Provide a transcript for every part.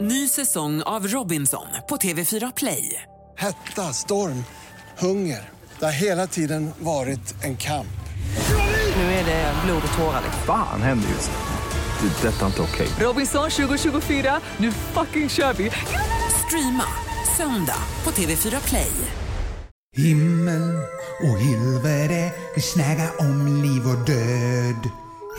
Ny säsong av Robinson på TV4 Play. Hetta, storm, hunger. Det har hela tiden varit en kamp. Nu är det blod och tårar. Fan händer just nu. Det. är Detta är inte okej. Robinson 2024, nu fucking kör vi! Streama söndag på TV4 Play. Himmel och helvete, vi snäga om liv och död.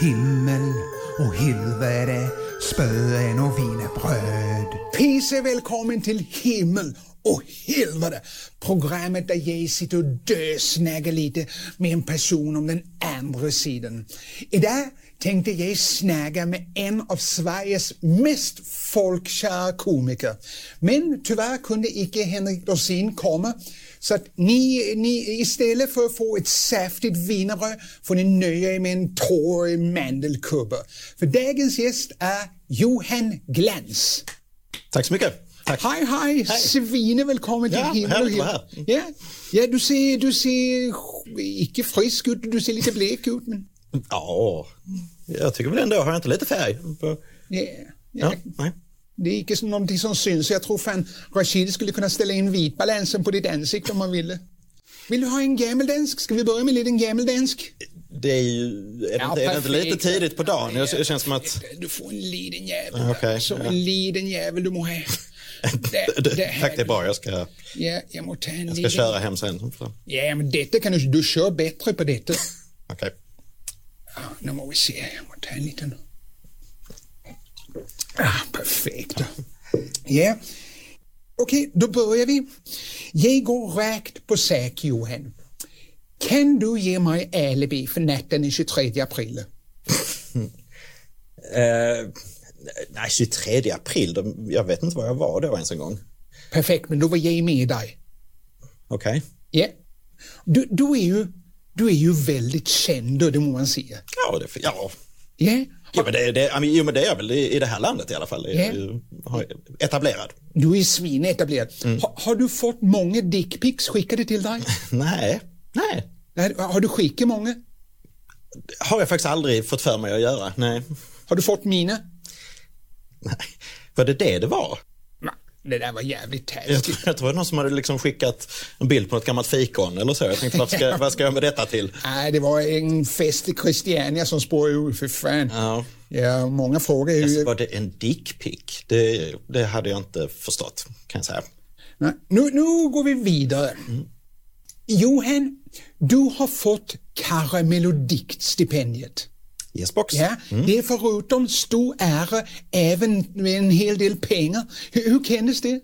Himmel och helvete, spöen och vinerbröd. Pisse välkommen till himmel och helvete! Programmet där jag sitter och dösnäggar lite med en person om den andra sidan. Idag tänkte jag snäga med en av Sveriges mest folkkära komiker. Men tyvärr kunde icke Henrik Dorsin komma så att ni, ni istället för att få ett saftigt wienerbröd får ni nöja er med en torr mandelkubbe. För dagens gäst är Johan Glans. Tack så mycket. Tack. Hej, hej! Svine, välkommen till Ja, himmel. härligt hel- att vara här. Ja, ja du, ser, du ser icke frisk ut, du ser lite blek ut. Men, Ja, jag tycker väl ändå, har jag inte lite färg? På, ja, ja. ja, nej. Det är icke som någonting som syns. Jag tror fan Rashid skulle kunna ställa in vitbalansen på ditt ansikte om han ville. Vill du ha en gammeldansk? Ska vi börja med en liten gammeldansk? Det är ju, är det, Ja, inte, är det inte perfekt. lite tidigt på dagen? Jag, det känns som att, Eh, Du får en liten jävel. Ah, Okej, Så ja. en liten jävel du må ha. Det, här- tack det är bra, jag ska, Ja, jag må ta en jag ska liten... köra hem sen. Så, Ja, men detta kan du... Du kör bättre på detta. Okej. Ja, nu må vi se. Jag må ta en liten... Ah, perfekt. Ja. Okej, då börjar vi. Jag går rakt på sak, Johan. Kan du ge mig alibi för natten den 23 april? Eh, nej, 23 april, de- jag vet inte var jag var då ens en gång. Perfekt, men då var jag med dig. Okej. Ja. Du, du är ju... Du är ju väldigt känd, det må man säga. Ja, det, ja. Ja. Jo, men det, det, ja, men- jo, men det är jag väl i, i det här landet i alla fall. Ja. Yeah. Jag, etablerad. Du är svinetablerad. Ha, har du fått många dickpics skickade till dig? Nej, nej. Nej, har du skickat många? Har jag faktiskt aldrig fått för mig att göra. Nej. Har du fått mina? nej. Var det det det var? Nej, det där var jävligt Jag taskigt. tror, jag tror det var någon som hade liksom skickat en bild på något gammalt fikon eller så. Jag tänkte, vad ska, vad ska jag med detta till? Nej, det var en fest i Christiania som spårade ur, för fan. Ja. Ja, många frågar ju... Alltså, var det en dickpic? Det, det hade jag inte förstått, kan jag säga. Nej, nu, nu går vi vidare. Johan, du har fått Karamelodikt-stipendiet. Yes, box. Ja, mm. det är förutom stor ära även med en hel del pengar. Hur, hur kändes det?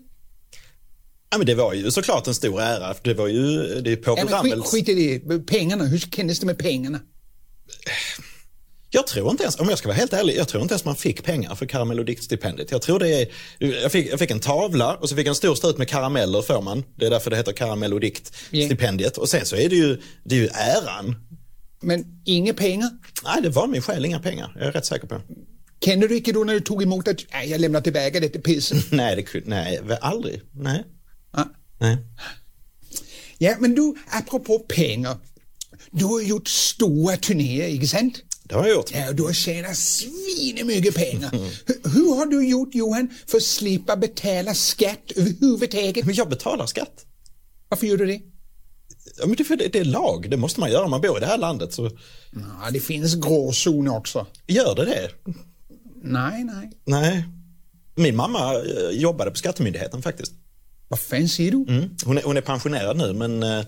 Ja, men det var ju såklart en stor ära. för Det var ju det är Ja, Povel men skit, Ramels... skit i det, pengarna. Hur kändes det med pengarna? Jag tror inte ens, om jag ska vara helt ärlig, jag tror inte ens man fick pengar för karamell och diktstipendiet. Jag tror det är, jag fick, jag fick en tavla och så fick jag en stor strut med karameller får man. Det är därför det heter karamell och diktstipendiet. Och sen så är det ju, det är ju äran. Men inga pengar? Nej, det var min själ, inga pengar. Jag är rätt säker på. Kände du inte då när du tog emot att nej, jag lämnar tillbaka det till pisset? Nej, det kunde, nej, väl aldrig. Nej. Ja. nej. Ja, men du, apropå pengar. Du har gjort stora turnéer, inte sant? Det har jag gjort. Ja, och du har tjänat svinemycket pengar. Hur, hur har du gjort, Johan, för att slippa betala skatt överhuvudtaget? Men jag betalar skatt. Varför gör du det? Ja, men det, är för det, det är lag, det måste man göra om man bor i det här landet. Så Ja, det finns gråzoner också. gör det det. Nej, nej. Nej. Min mamma eh, jobbade på Skattemyndigheten faktiskt. Vad fan säger du? Mm. Hon, är, hon är pensionerad nu, men eh,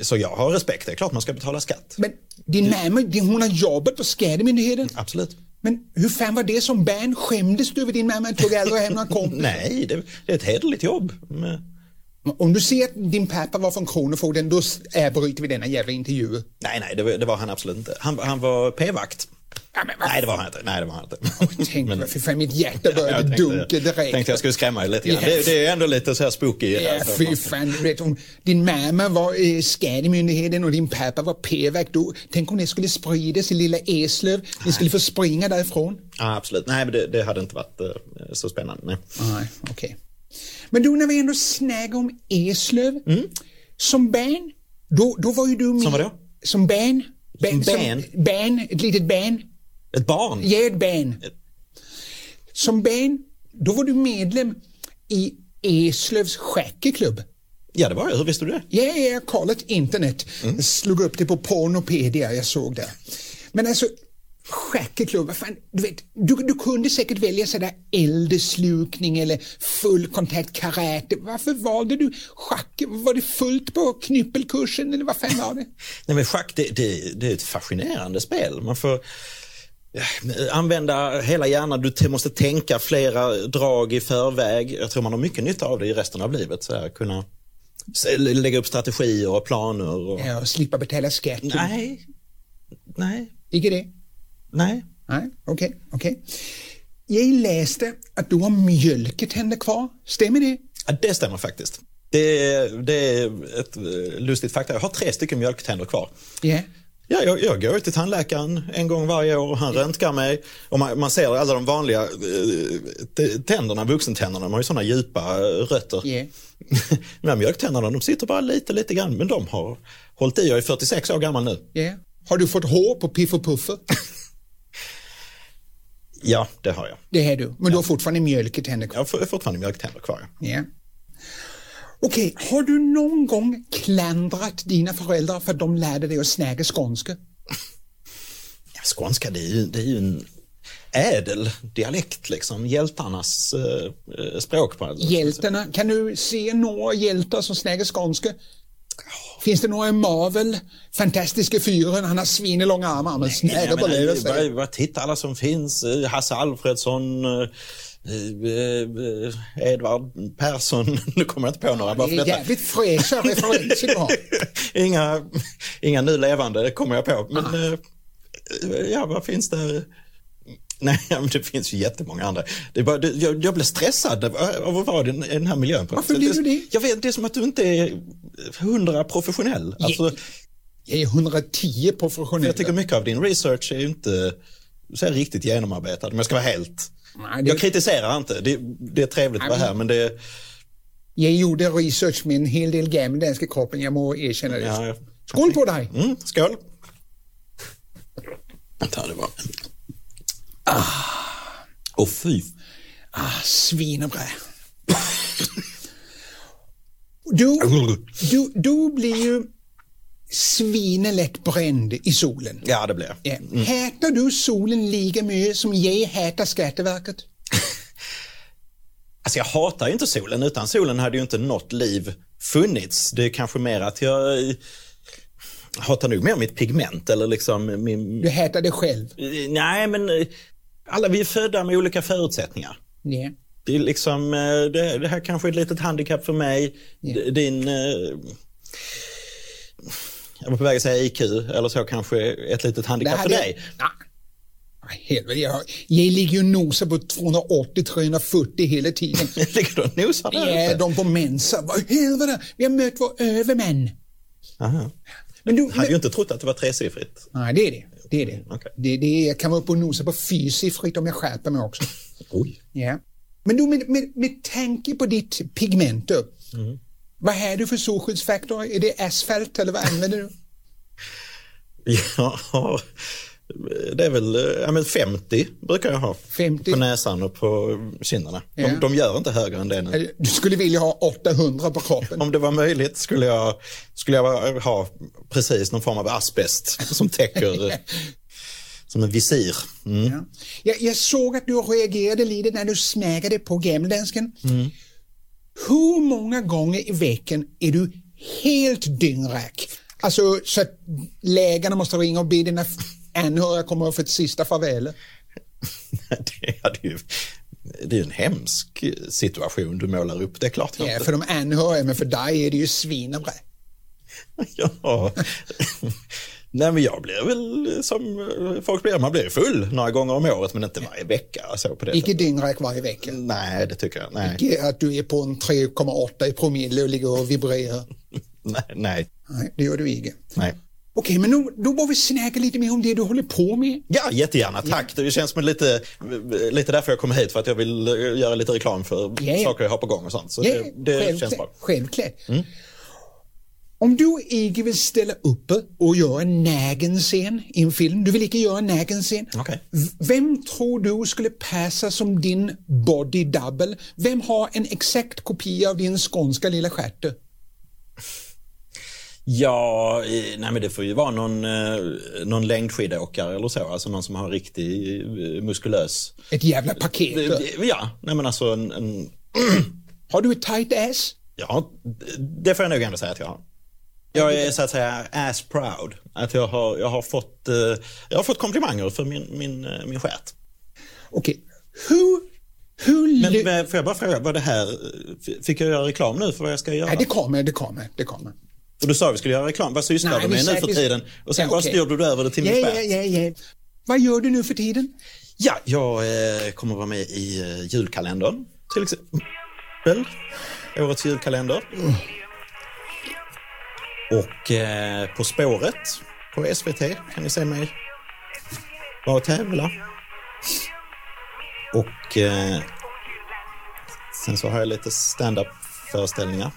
så jag har respekt. Det är klart man ska betala skatt. Men din mamma, din- hon har jobbat på Skattemyndigheten. Absolut. Men hur fan var det som barn? Skämdes du över din mamma? Tog aldrig hem några kompisar? Nej, det, det är ett hederligt jobb. Men, Om du ser att din pappa var från Kronofogden, då s- avbryter vi denna jävla intervju. nej, nej, det, var- det var han absolut inte. Han, han var p-vakt. Ja, men vad Nej, det var han inte. Nej, det var han inte. Tänk, Men- men... för fan, mitt hjärta började Jag dunka tänkte, direkt. tänkte jag skulle skrämma er lite grann. Ja. Det, det är ändå lite så här spooky. alltså. i det här. Ja, fy fan. Du vet, om din mamma var eh, Skattemyndigheten och din pappa var p-vakt. då- Tänk om det skulle spridas i lilla Eslöv. Ni skulle få springa därifrån. Ja, absolut. Nej, men det, det hade inte varit eh, så spännande. Nej. Nej, okej. Men du, när vi ändå snäggar om Eslöv. Som barn, då, då var ju du med. Mm. Som vadå? Som barn. Som Barn. barn? som- barn, Ett litet barn. Ett barn? Ge ett barn. Som barn Då var du medlem i Eslövs skäckeklubb. Ja, det var jag. Hur visste du det? Ja, ja, jag kollade internet. Slog upp det på Pornopedia, jag såg det. Men alltså, schackeklubb, vad fan, du vet, du, du kunde säkert välja sådär eldeslukning eller full kontakt karate. Varför valde du schack? Var det fullt på knyppelkursen eller vad fan var det? Nej, men schack, det, det, det är ett fascinerande spel. Man får eh, använda hela hjärnan. Du te- måste tänka flera drag i förväg. Jag tror man har mycket nytta av det i resten av livet. Så här, kunna se- lägga upp strategier och planer. Och... Ja, och slippa betala skatt. Nej, nej, Icke det? nej. Nej, okej, okej. Jag läste att du har mjölketänder kvar, stämmer det? Ja, det stämmer faktiskt. Det, är- det är ett eh, lustigt fakta. Jag har tre stycken mjölktänder kvar. Ja. Ja, jag, jag går till tandläkaren en gång varje år och han röntgar mig. Och man, man ser alla de vanliga eh, t- tänderna, vuxentänderna, de har ju sådana djupa eh, rötter. Yeah. de här mjölktänderna, de sitter bara lite, lite grann, men de har hållit i. Jag är 46 år gammal nu. Ja. Har du fått hår på Piff och Puffer? Ja, det har jag. Det är du, men du har fortfarande mjölketänder Jag kvar. har for- fortfarande mjölktänder kvar. ja. Ja. Okej, har du någon gång klandrat dina föräldrar för att de lärde dig att snäga skånska? Ja, skånska, det är ju, det är ju en ädel dialekt, liksom. Hjältarnas eh, eh, språk. På, Hjältarna, kan du se några hjältar som snäger skånska? Finns det några i Marvel? Fantastiska fyren, han har svinelånga armar, men Nej, snäger men, på eh, lösa. bara, bara titta alla som finns. Eh, Hasse Alfredsson, eh, eh, eh, Edvard Persson. Nu kommer jag inte på några. Bara Det för är detta. jävligt fräscha referenser du har. inga, inga nu levande kommer jag på. Men Ah. eh, ja, vad finns det? Nej, men det finns ju jättemånga andra. Det är bara, det, jag, jag blev stressad av av att vara i den, i den här miljön. Varför blir du det? Jag vet, det är som att du inte är hundra professionell. Alltså, Jag är 110 professionell. jag tycker mycket av din research är ju inte så här riktigt genomarbetad, om jag ska vara helt. Nej, det- Jag kritiserar inte, det, det är trevligt att vara här, men det... Jag gjorde research med en hel del gammeldanska kroppen, jag må erkänna det. Ja, jag- Skål på dig! Mm, skål! Vänta, det var... Åh oh, fy! Ah, svinebra. Du, du, du blir ju svinelätt bränd i solen. Ja, det blev jag. Ja. Hätar du solen lika mycket som jag hätar Skatteverket? Alltså jag hatar ju inte solen. Utan solen hade ju inte något liv funnits. Det är kanske mer att jag eh, hatar nog mer mitt pigment eller liksom min... Du hätar dig själv. Eh, Nej, men eh, alla vi är födda med olika förutsättningar. Ja. Det, är liksom, eh, det, det här kanske är ett litet handikapp för mig. D- Din... eh, Jag var på väg att säga IQ, eller så kanske ett litet handikapp för hade- dig. Nej. Nej, Helvete, jag, jag ligger ju och nosar på 280-340 hela tiden. Ligger du och nosar där Ja, uppe? de på Mensa. Vad i helvete, vi har mött vår övermän. Aha. Men du, Jag hade ju inte trott att det var tresiffrigt. Nej, det är det. Det är det. Okej. det, det är, jag kan vara uppe och nosa på fyrsiffrigt om jag skärper mig också. Oj. Ja. Men du, med, med, med tanke på ditt pigment, då, vad är du för solskyddsfaktor? Är det asfalt eller vad använder du? Ja, det är väl eh, ja, men 50 brukar jag ha 50. på näsan och på kinderna. De, Ja. de gör inte högre än det nu. Eller, Du skulle vilja ha 800 på kroppen. Om det var möjligt skulle jag, skulle jag ha precis någon form av asbest som täcker, eh, som en visir. Mm. Ja. Jag, jag såg att du reagerade lite när du smägade på gammeldansken. Hur många gånger i veckan är du helt dyngrak? Alltså så att läkarna måste ringa och be dina f- anhöriga komma för ett sista farväl. Det, hade ju, det är ju en hemsk situation du målar upp, det är klart. jag Ja, inte- för de anhöriga, men för dig är det ju svinebra. Ja. Nej men jag blir väl som eh, folk blir, man blir full några gånger om året men inte varje vecka. Så på det Icke sättet. dyngrak varje vecka. Nej, det tycker jag. Nej. Icke att du är på en 3,8 i promille och ligger och vibrerar. Nej, nej, Nej, det gör du inte. nej. Okej, men nu, då bör vi snacka lite mer om det du håller på med. Ja, jättegärna. Tack. Det känns som lite, lite därför jag kom hit, för att jag vill eh, göra lite reklam för Ja, ja. saker jag har på gång och sånt. Så Ja, det, det känns bra. Självklart. Om du inte vill ställa upp och göra en nägenscen i en film, du vill inte göra en nägenscen. Okej. V- Vem tror du skulle passa som din body double? Vem har en exakt kopia av din skånska lilla stjärte? Ja, eh, nej men det får ju vara någon, eh, någon längdskidåkare eller så. Alltså någon som har riktig eh, muskulös... Ett jävla paket. då. Ja, nej men alltså en, en... Har du ett tight ass? Ja, det får jag nog ändå säga att jag har. Jag är så att säga ass proud. Att jag har, jag har, fått, eh, jag har fått komplimanger för min, min, eh, min stjärt. Okej, hur... Hur... Men, ly- men får jag bara fråga, vad det här... f- Fick jag göra reklam nu för vad jag ska göra? Nej, det kommer, det kommer, det kommer. För du sa vi skulle göra reklam. Vad sysslar du vi med nu säger- för vi- tiden? Och sen Ja, bara okej. styrde du över det till min Ja, yeah, ja, ja, ja. Vad gör du nu för tiden? Ja, jag eh, kommer vara med i eh, julkalendern. Till exempel. Årets julkalender. Och eh, På spåret på SVT kan ni se mig vara och tävla. Och eh, sen så har jag lite stand-up föreställningar.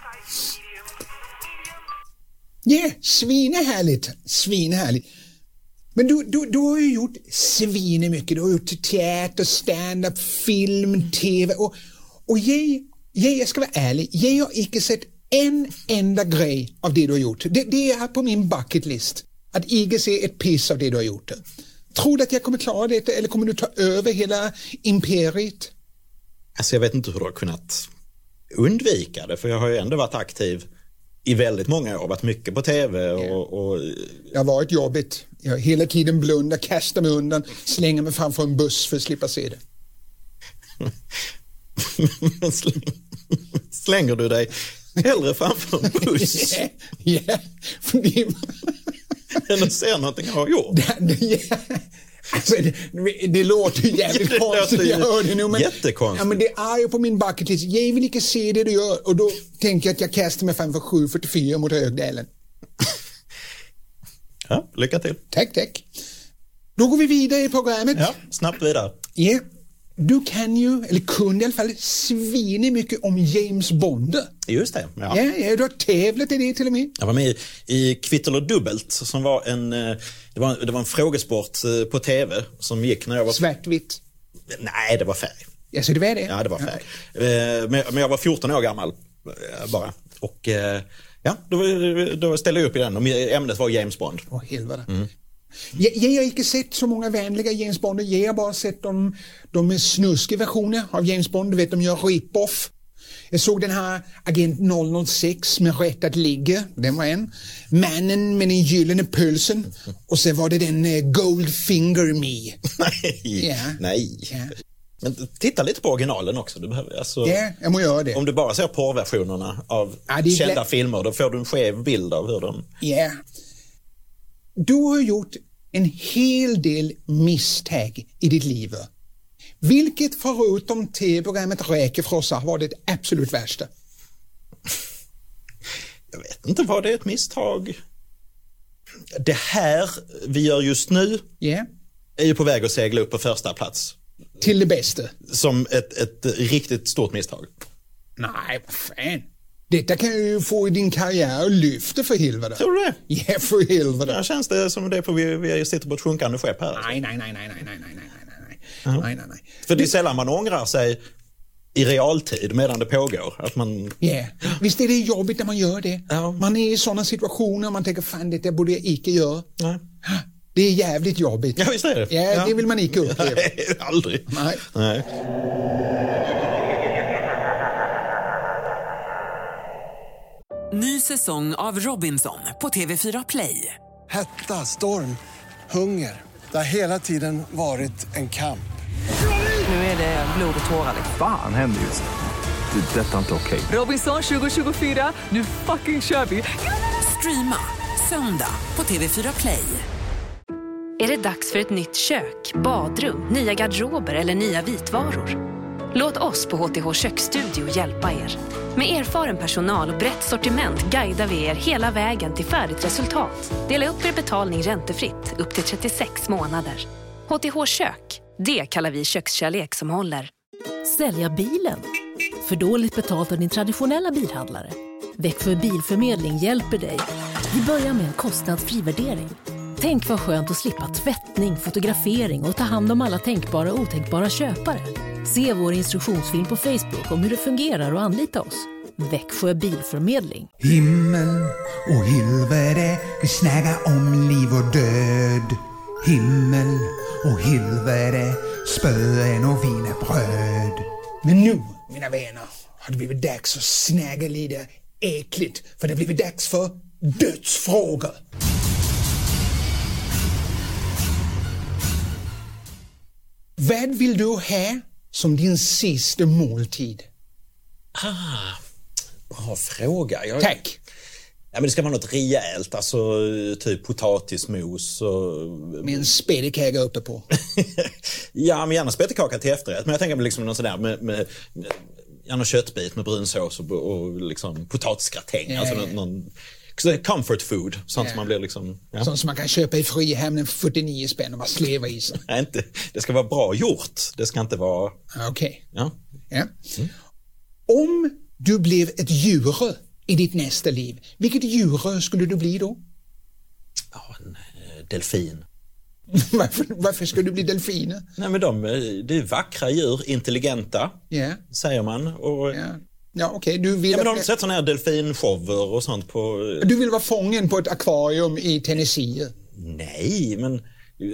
Ja, svinehärligt, svinehärligt. Men du, du, du har ju gjort svinemycket. Du har gjort teater, stand-up, film, tv och, och jag, jag, jag ska vara ärlig, jag har inte sett en enda grej av det du har gjort. Det, det är på min bucket list, att inte se ett piss av det du har gjort. Tror du att jag kommer klara det eller kommer du ta över hela imperiet? Alltså jag vet inte hur du har kunnat undvika det, för jag har ju ändå varit aktiv i väldigt många år, varit mycket på tv och, och Det har varit jobbigt. Jag har hela tiden blundar, kastar mig undan, slänger mig framför en buss för att slippa se det. Men släng- Slänger du dig hellre framför en buss Ja, för det- än att se någonting jag har gjort? det- ja. Alltså, det, det låter ju jävligt Ja, det låter konstigt, jag ju hör det nu. Men, jättekonstigt. Ja, men det är ju på min bucket list. Jag vill inte se det du gör och då tänker jag att jag kastar mig framför 744 mot Högdalen. Ja, lycka till. Tack, tack. Då går vi vidare i programmet. Ja, snabbt vidare. Ja, Du kan ju, eller kunde i alla fall, svinigt mycket om James Bond. Just det. Ja. Ja, ja, du har tävlat i det till och med. Jag var med i- i Kvitt eller dubbelt som var en, eh, det var, det var en frågesport eh, på tv som gick när jag var... Svartvitt. Nej, det var färg. Ja, så det var det? Ja, det var färg. Eh, Men, men jag var 14 år gammal eh, bara. Och eh, ja, då, var- då ställde jag upp i den och ämnet var James Bond. Åh helvete. Jag, jag har inte sett så många vänliga James Bonder. Jag har bara sett de, de med snuskiga versioner av James Bond. Du vet, de gör rip-off. Jag såg den här Agent 006 med Rätt att ligga. Den var en. Mannen med den gyllene pölsen. Och sen var det den eh, Goldfinger Me. Nej, Ja. nej. Ja. Men titta lite på originalen också. Du behöver, alltså, Ja, jag må göra det. Om du bara ser porrversionerna av Ja, det är kända glä- filmer, då får du en skev bild av hur de... Ja. Du har gjort en hel del misstag i ditt liv. Vilket förutom tv-programmet Räkefrossa har varit det absolut värsta? Jag vet inte, vad det är ett misstag? Det här vi gör just nu Ja. är ju på väg att segla upp på första plats Till det bästa? som ett, ett riktigt stort misstag. Nej, vad fan. Detta kan ju få din karriär att lyfta för helvete. Tror du det? Ja, för helvete. Där känns det som det är på, vi, vi sitter på ett sjunkande skepp här. Nej, nej, nej, nej, nej, nej, nej, nej, nej, nej, nej, nej, nej. För det är sällan man ångrar sig i realtid medan det pågår. Att man Ja, visst är det jobbigt när man gör det? Ja. Man är i sådana situationer, man tänker fan detta borde jag icke göra. Nej. Det är jävligt jobbigt. Ja, visst är det. Ja, det vill man icke uppleva. Nej, aldrig. Nej. Nej. Ny säsong av Robinson på TV4 Play. Hetta, storm, hunger. Det har hela tiden varit en kamp. Nu är det blod och tårar. Fan händer just det. Det är detta inte okej. Robinson 2024, nu fucking kör vi! Streama söndag på TV4 Play. Är det dags för ett nytt kök, badrum, nya garderober eller nya vitvaror? Låt oss på HTH Köksstudio hjälpa er. Med erfaren personal och brett sortiment guidar vi er hela vägen till färdigt resultat. Dela upp er betalning räntefritt upp till 36 månader. HTH Kök, det kallar vi kökskärlek som håller. Sälja bilen? För dåligt betalt av din traditionella bilhandlare? Växjö Bilförmedling hjälper dig. Vi börjar med en kostnadsfri värdering. Tänk vad skönt att slippa tvättning, fotografering och ta hand om alla tänkbara och otänkbara köpare. Se vår instruktionsfilm på Facebook om hur det fungerar och anlita oss. Växjö Bilförmedling. Himmel och helvete, vi snackar om liv och död. Himmel och helvete, spöen och wienerbröd. Men nu, mina vänner, har det blivit dags att snäga lite äckligt, för det har blivit dags för dödsfrågor. Vad vill du ha som din sista måltid? Ah, Bra fråga. Jag... Tack! Ja, men det ska vara något rejält, alltså typ potatismos och Med en spedekäga uppe på. Ja, men gärna spettekaka till efterrätt. Men jag tänker mig liksom någon sån där med, med gärna köttbit med brunsås och, och liksom potatisgratäng. Ja, alltså ja. någon, någon sån här comfort food. Sånt Ja. som man blir liksom... Ja. Sånt som man kan köpa i Frihamnen för 49 spänn och bara sleva i sig. Nej, inte, det ska vara bra gjort. Det ska inte vara... Okej. Ja. Ja. Mm. Om du blev ett djur i ditt nästa liv, vilket djur skulle du bli då? Ja, en eh, delfin. Varför, varför ska du bli delfiner? Nej, men de, eh, det är vackra djur, intelligenta, Ja, säger man. Och, ja. ja. ja okej. Du, vill men de har att- sett såna här delfinshower och sånt på... eh, du vill vara fången på ett akvarium i Tennessee. Nej, men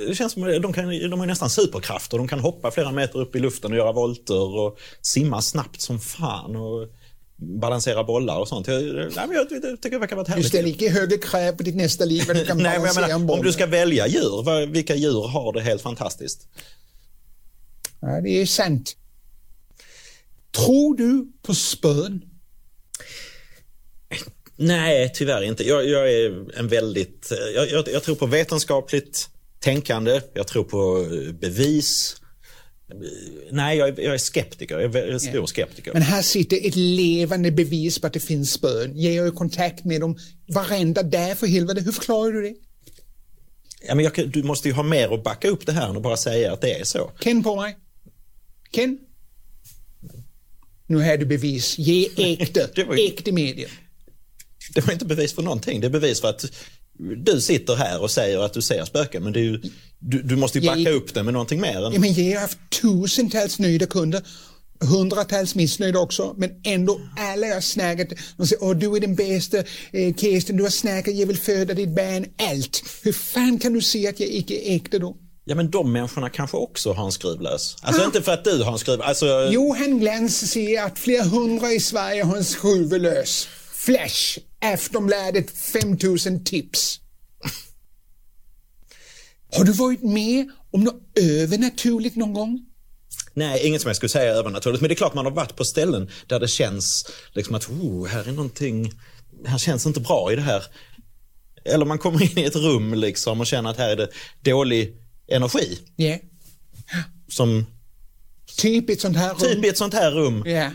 det känns som att de, kan, de har nästan superkrafter. De kan hoppa flera meter upp i luften och göra volter och simma snabbt som fan och balansera bollar och sånt. Jag, nej, men jag, jag tycker det verkar vara ett Du härligt ställer liv. inte högre krav på ditt nästa liv än du kan Nej, men jag balansera en menar, boll. om du ska välja djur, vad- vilka djur har det helt fantastiskt? Ja, det är sant. Tror du på spön? Nej, tyvärr inte. Jag, jag är en väldigt... eh, Jag, jag, jag tror på vetenskapligt tänkande. Jag tror på eh, bevis. Eh, Nej, jag är, jag är skeptiker. Jag är vä- stor skeptiker. Men här sitter ett levande bevis på att det finns spön. Jag har ju kontakt med dem varenda dag för helvete. Hur förklarar du det? Ja, men jag, kan- du måste ju ha mer att backa upp det här än att bara säga att det är så. Ken på mig. Ken? Nu har du bevis. Ge äkta, Det var ju- äkta medier. Det var inte bevis för någonting. Det är bevis för att du sitter här och säger att du ser spöken. Men det är ju, du, du måste ju Jag- backa upp det med någonting mer. Ja, Än, men jag har haft tusentals nöjda kunder, hundratals missnöjda också, men ändå alla jag har snackat, de säger åh du är den bästa, eh, Kirsten du har snackat, jag vill föda ditt barn, allt. Hur fan kan du se att jag icke är äkta då? ja, men de människorna kanske också har en skruvlös. Alltså Ah! inte för att du har en skruvlös. Alltså, Johan Glans säger att flera hundra i Sverige har en skruvelös. Flash, Aftonbladet 5000 tips. Har du varit med om något övernaturligt någon gång? nej, inget som jag skulle säga är övernaturligt. Men det är klart man har varit på ställen där det känns liksom att oh, här är någonting, här känns inte bra i det här. Eller man kommer in i ett rum liksom och känner att här är det dålig energi. Ja. Som Typ i ett sånt här rum. typ i ett sånt här rum. Ja.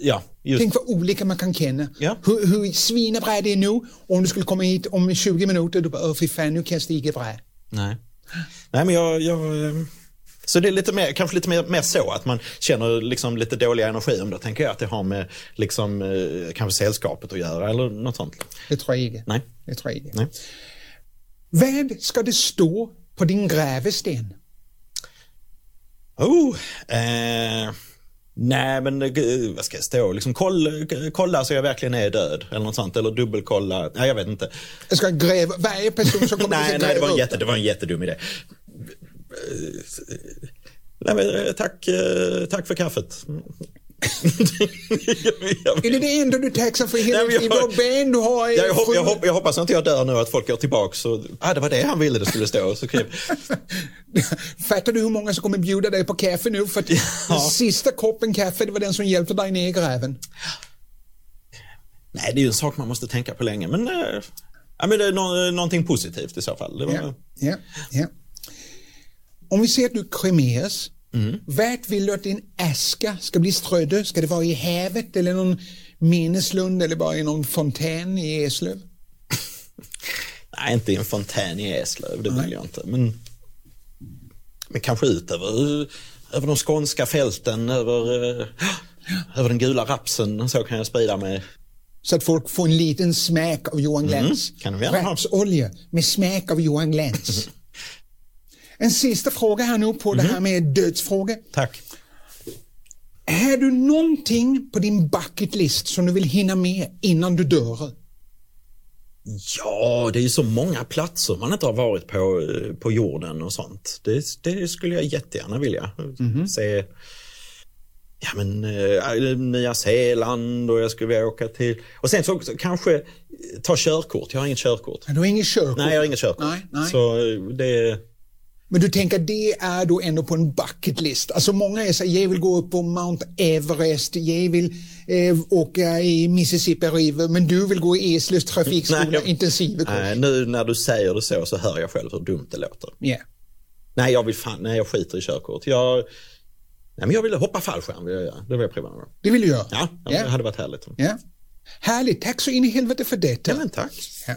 Ja, just Tänk vad olika man kan känna. Ja. Hur, hur svinebra det är nu, om du skulle komma hit om 20 minuter, du bara "Åh, fy fan, nu känns det inte bra. Nej. Nej, men jag... jag eh, så det är lite mer, kanske lite mer, mer så att man känner liksom lite dålig energi om det. Tänker jag att det har med liksom, eh, kanske sällskapet att göra eller något sånt. Det tror jag inte. Nej. Det tror jag inte. Nej. Vad ska det stå på din grävesten? Oh, eh, nej, men eh, gud, vad ska jag stå? Liksom, koll, kolla så jag verkligen är död eller något sånt. Eller dubbelkolla. Nej, jag vet inte. Jag ska gräva, varje person som kommer nej, hit nej det, var en upp. jätte, det var en jättedum idé. Eh, Nej, men, eh, tack, eh, tack för kaffet. Jag- Är det det enda du taxar för hela Nej, men ditt liv? jag- Vad ben du har? är Jag, hopp, sju- jag, hopp, jag hoppas inte jag dör nu att folk går tillbaka så, ah, det var det han ville det skulle stå. Så kul. Fattar du hur många som kommer bjuda dig på kaffe nu? För att den sista koppen kaffe, det var den som hjälpte dig ner i gräven. Nej, det är ju en sak man måste tänka på länge, men, eh, ja, men det är nå- någonting positivt i så fall. Det var, Ja, ja, ja. Om vi ser att du kremeras, Mm. vart vill du att din aska ska bli strödd? Ska det vara i havet eller någon minneslund eller bara i någon fontän i Eslöv? Nej, inte i en fontän i Eslöv, det vill jag inte. Men, men kanske ut över, över de skånska fälten, över, eh, över den gula rapsen, så kan jag sprida mig. så att folk får en liten smak av Johan Glans. Mm, kan de gärna ha. Rapsolja med smak av Johan Glans. en sista fråga här nu på Mhm. det här med dödsfrågor. Tack. Har du någonting på din bucket list som du vill hinna med innan du dör? Ja, det är ju så många platser man inte har varit på eh, på jorden och sånt. Det, det skulle jag jättegärna vilja se. Ja, men eh, Nya Zeeland och jag skulle vilja åka till... Och sen så också, kanske eh, ta körkort. Jag har inget körkort. Du har inget körkort. Nej, jag har inget körkort. Nej, nej. Så eh, det... Men du tänker det är då ändå på en bucket list. Alltså många är så här, jag vill gå upp på Mount Everest, jag vill eh, åka i Mississippi River, men du vill gå i Eslövs trafikskola jag- intensivkurs. Nej, eh, nu när du säger det så så hör jag själv hur dumt det låter. Ja. Nej, jag vill fan, nej, jag skiter i körkort. Jag, nej, men jag vill hoppa fallskärm. vill jag göra. Det vill jag prova någon gång. Det vill du göra? Ja, det Ja. hade varit härligt. Ja. Ja. Härligt, tack så in i helvete för detta. men tack. Ja.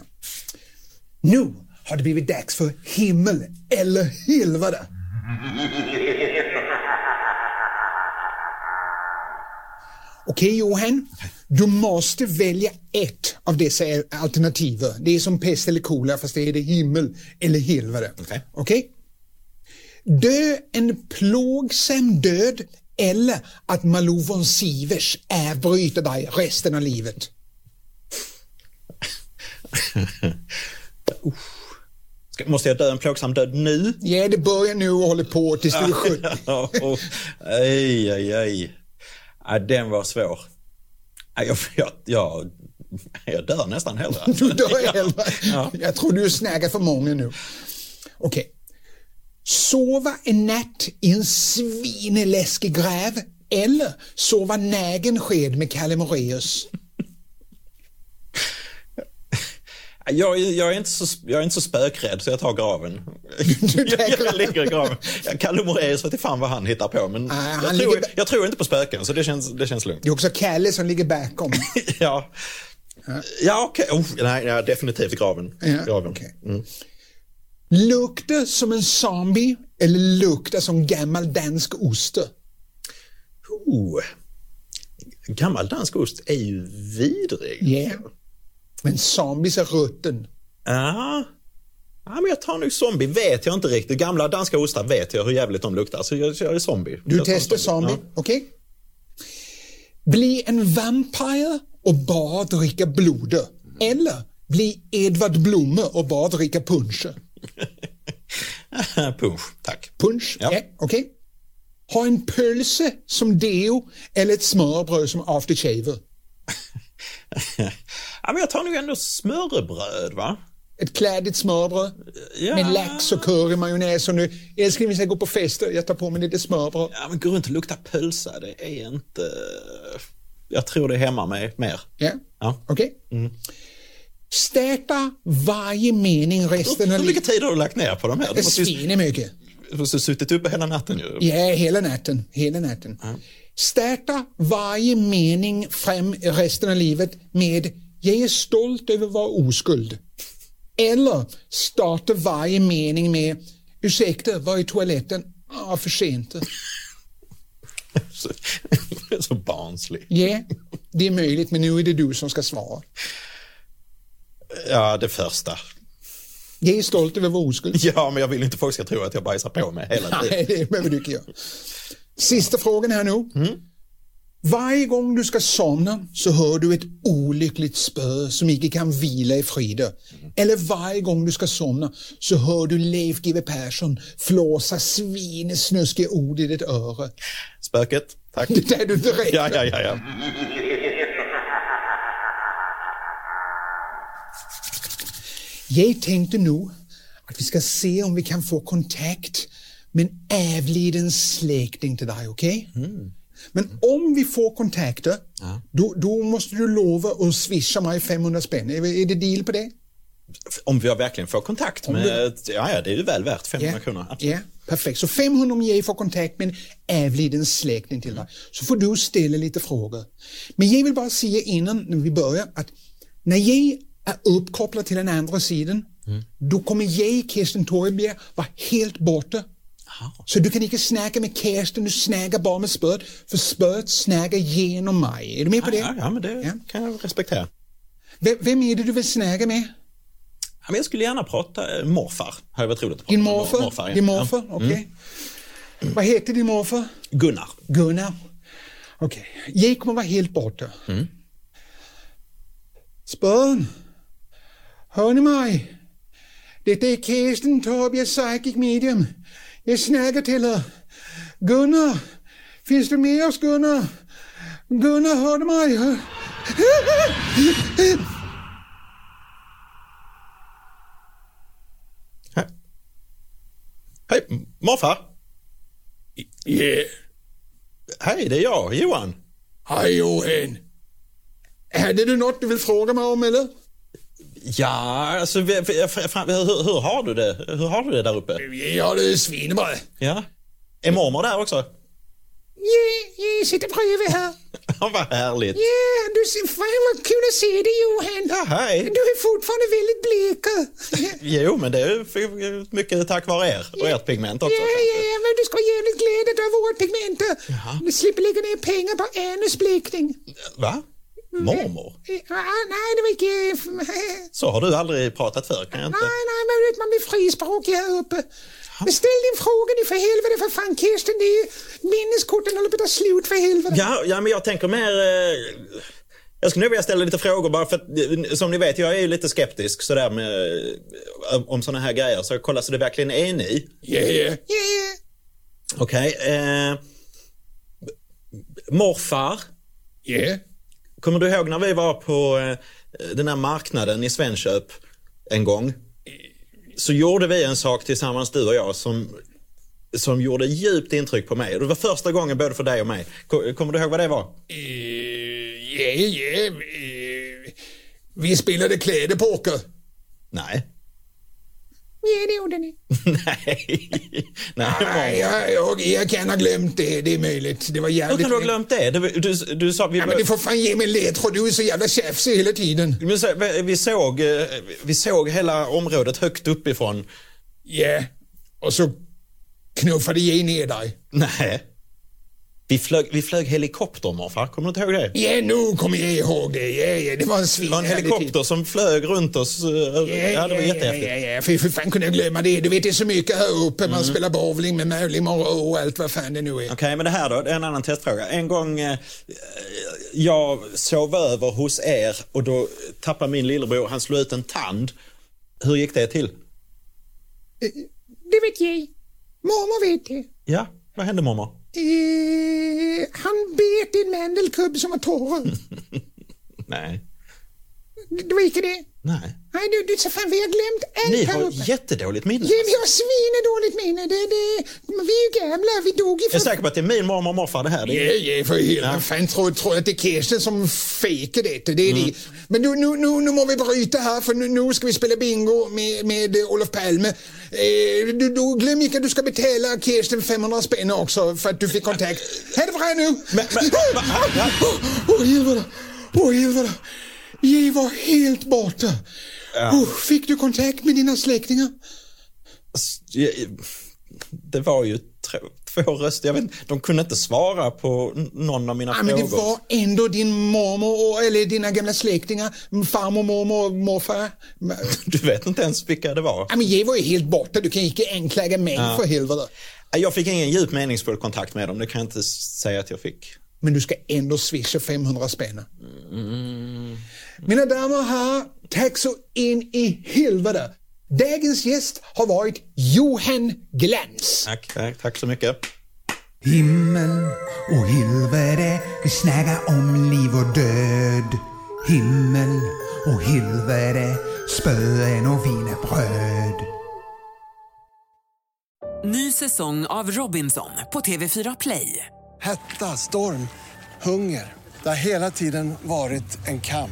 Nu har det blivit dags för himmel eller helvete. Okej Johan, du måste välja ett av dessa alternativ. Det är som pest eller kolera fast det är det himmel eller helvete. Okej. Okej? Dö en plågsam död eller att Malou von Sivers avbryter dig resten av livet. Ska, måste jag dö en plågsam död nu? Ja, det börjar nu och håller på tills du är 70. Åh, aj, aj, aj. Ja, den var svår. Ja, Jag, jag, jag, jag dör nästan hellre. Du dör Ja. elva. Jag tror du snägar för många nu. Okej. Sova en natt i en svinläskig gräv eller sova nägen sked med Kalle Moraeus. Jag, är- jag, är inte så, jag är inte så spökrädd så jag tar graven. tar jag, jag graven. ligger i graven. Jag Kalle Moraeus vet inte fan vad han hittar på men han jag, tror, ligger- jag tror inte på spöken så det känns, det känns lugnt. Det är också Kalle som ligger bakom. ja. Ja okej, oh, nej, nej definitivt graven. Ja, graven. Mm. okej. Lukta som en zombie eller lukta som gammal dansk oste. Oh. Gammal dansk ost är ju vidrig. Ja. Men zombies är rutten. Ja. ja, men jag tar nu zombie. Vet jag inte riktigt. Gamla danska ostar vet jag hur jävligt de luktar. Så jag kör zombie. Du jag tar testar zombie, okej? Bli en vampire och bara dricka blod. Eller bli Edvard Blomme och bara dricka punsch. Ja. Punsch, tack. Punsch, ja. Ja. eh, okej? Ha en pölse som deo eller ett smörbröd som aftershave. ja, men jag tar nu ändå smörrebröd, va? Ett klädigt smörbröd Ja. med lax och curry, majonnäs och nu, älskling vi ska gå på fester, jag tar på mig lite smörbröd. Ja, men gå runt och lukta pölsa. Det är inte... Jag tror det är hemma med mer. Ja, Ja. Mm. okej? Starta varje mening resten av Hur mycket livet. tid har du lagt ner på de här? Du måste ju Svin är mycket. du måste ju suttit uppe hela natten ju. Ja, hela natten. Hela natten. Starta varje mening fram i resten av livet med “Jag är stolt över att vara oskuld”. Eller starta varje mening med “Ursäkta, var är toaletten?” “Ah, för sent.” Så, så barnslig. Ja, det är möjligt, men nu är det du som ska svara. Ja, det första. “Jag är stolt över att vara oskuld”. Ja, men jag vill inte folk ska tro att jag bajsar på mig hela tiden. Nej, det behöver du inte göra. Sista frågan här nu. Varje gång du ska somna så hör du ett olyckligt spö som inte kan vila i fride. Eller varje gång du ska somna så hör du Leif GW Persson flåsa svinesnuskiga ord i ditt öra. Spöket, tack. Det där du direkt. Ja, ja, ja, ja. Jag tänkte nu att vi ska se om vi kan få kontakt med en avliden släkting till dig, okej? Men om vi får kontakter, då, då måste du lova att swisha mig 500 spänn. Är, är det deal på det? Om vi verkligen får kontakt med... Ja, ja, det är ju väl värt 500 kronor. Ja, absolut. perfekt. Så 500 om jag får kontakt med en avliden släkting till dig. Så får du ställa lite frågor. Men jag vill bara säga innan när vi börjar att när jag är uppkopplad till den andra sidan, Mm. då kommer jag, Kirsten Torebjer, vara helt borta. Så du kan inte snacka med Kirsten, du snackar bara med spöet, för spöet snackar genom mig. Är du med på det? Ja, ja, men det Ja. kan jag respektera. V- vem är det du vill snäga med? Ja, men jag skulle gärna prata eh, morfar. Hade varit roligt att prata Din med mor- morfar? ja. Din morfar? Ja. Mm. Okej. Vad heter din morfar? Gunnar. Gunnar. Okej. Jag kommer vara helt borta. Mm. Spön. Hör ni mig? Detta är Kirsten Tobias Psychic Medium. Jag snackar till er. Gunnar. Finns du med oss Gunnar? Gunnar, hör du mig? Hör- Hej. Hej, m- morfar. Ja, Hej, det är jag, Johan. hej Johan. Hade du något du vill fråga mig om eller? Ja, alltså vi- vi- fr- fr- hur, hur har du det? Hur har du det där uppe? Jag har det svinbra. Ja. Är mormor där också? Ja, jag sitter bredvid här. Ja, vad härligt. Ja, du ser, fan vad kul att se dig Johan. Ja, hej. Du är fortfarande väldigt blek. Jo, men det är ju f- mycket tack vare er och ert pigment också. Ja, ja, ja, men du ska vara jävligt glad att du har vårt pigment. Du slipper lägga ner pengar på Anus blekning. Va? Mormor? Eh, ah, nej, det var inte... eh, Så har du aldrig pratat för kan jag inte? Nej, nej, men vet man blir frispråkig här uppe. Men ställ din fråga nu för helvete för fan Kirsten, det är minneskorten håller på att ta slut för helvete. Ja, ja, men jag tänker mer... Eh, jag skulle nog vilja ställa lite frågor bara för att, eh, som ni vet, jag är ju lite skeptisk sådär med, eh, om sådana här grejer. Så jag kollar så det verkligen är ni. Ja, ja. Ja, ja. Okej. eh, morfar, Ja, kommer du ihåg när vi var på eh, den här marknaden i Svenköp en gång? Så gjorde vi en sak tillsammans du och jag som, som gjorde djupt intryck på mig. Det var första gången både för dig och mig. Ko- Kommer du ihåg vad det var? Eh, ja, ja. eh, Vi spelade kläderpoker. Nej. Ja, det gjorde ni. Nej. Nej. Nej, jag, jag, jag kan ha glömt det. Det är möjligt. Det var Hur jävligt... kan du ha glömt det? Du, du, du sa, vi, Ja, men du får fan ge mig en ledtråd. Du är så jävla tjafsig hela tiden. Men så- vi, såg, eh, vi såg hela området högt uppifrån. Ja. Och så knuffade jag ner dig. Nej. Vi flög, vi flög helikopter morfar, kommer du inte ihåg det? Ja, nu kommer jag ihåg det. Ja, ja. Det var en svin. Det var en helikopter som flög runt oss. eh, Ja, det var jättehäftigt. Mm. Ja, ja, ja. Fy för fan kunde jag glömma det. Du vet, det är så mycket här uppe. Man spelar bowling med Marilyn Monroe och allt vad fan det nu är. Okej, men det här då, det är en annan testfråga. En gång eh, jag sov över hos er och då tappade min lillebror, han slog ut en tand. Hur gick det till? Det vet jag. Mormor vet det. Ja, vad hände mormor? Eh, han bet din mandelkubb som var Mm. torr. Nej. Det var inte det. Nej. Nej, du, du så fan, vi har glömt Ni allt här uppe. har jättedåligt minne. Ja, vi har svinedåligt minne. Det, det, men vi är ju gamla, vi dog ju Jag är för... säker på att det är min mormor och morfar det här. Det Ja, är... ja, för helvete. Fan, tror, tror jag att det är Kirsten som fejkar detta. Det är det. Mm. Men nu, nu, nu, nu må vi bryta här för nu, nu ska vi spela bingo med, med eh, Olof Palme. Eh, du, du, glöm inte att du ska betala Kirsten 500 spänn också för att du fick kontakt. Hej det bra nu! Men, men, va? Ja. Åh, helvete! Åh, helvete! Jag var helt borta. Oh, fick du kontakt med dina släktingar? Det var ju tr- två röster. Jag vet, inte, de kunde inte svara på n- någon av mina Ja, men frågor. det var ändå din mormor, och, eller dina gamla släktingar, farmor, mormor, och morfar. Du vet inte ens vilka det var. Ja, men jag var ju helt borta, du kan ju inte anklaga mig för helvete. Jag fick ingen djup meningsfull kontakt med dem. Det kan jag inte s- säga att jag fick. Men du ska ändå swisha 500 spänn. Mina damer och herrar, tack så in i helvete. Dagens gäst har varit Johan Glans. Tack, tack, tack så mycket. Himmel och helvete, vi snackar om liv och död. Himmel och helvete, spöen och wienerbröd. Ny säsong av Robinson på TV4 Play. Hetta, storm, hunger. Det har hela tiden varit en kamp.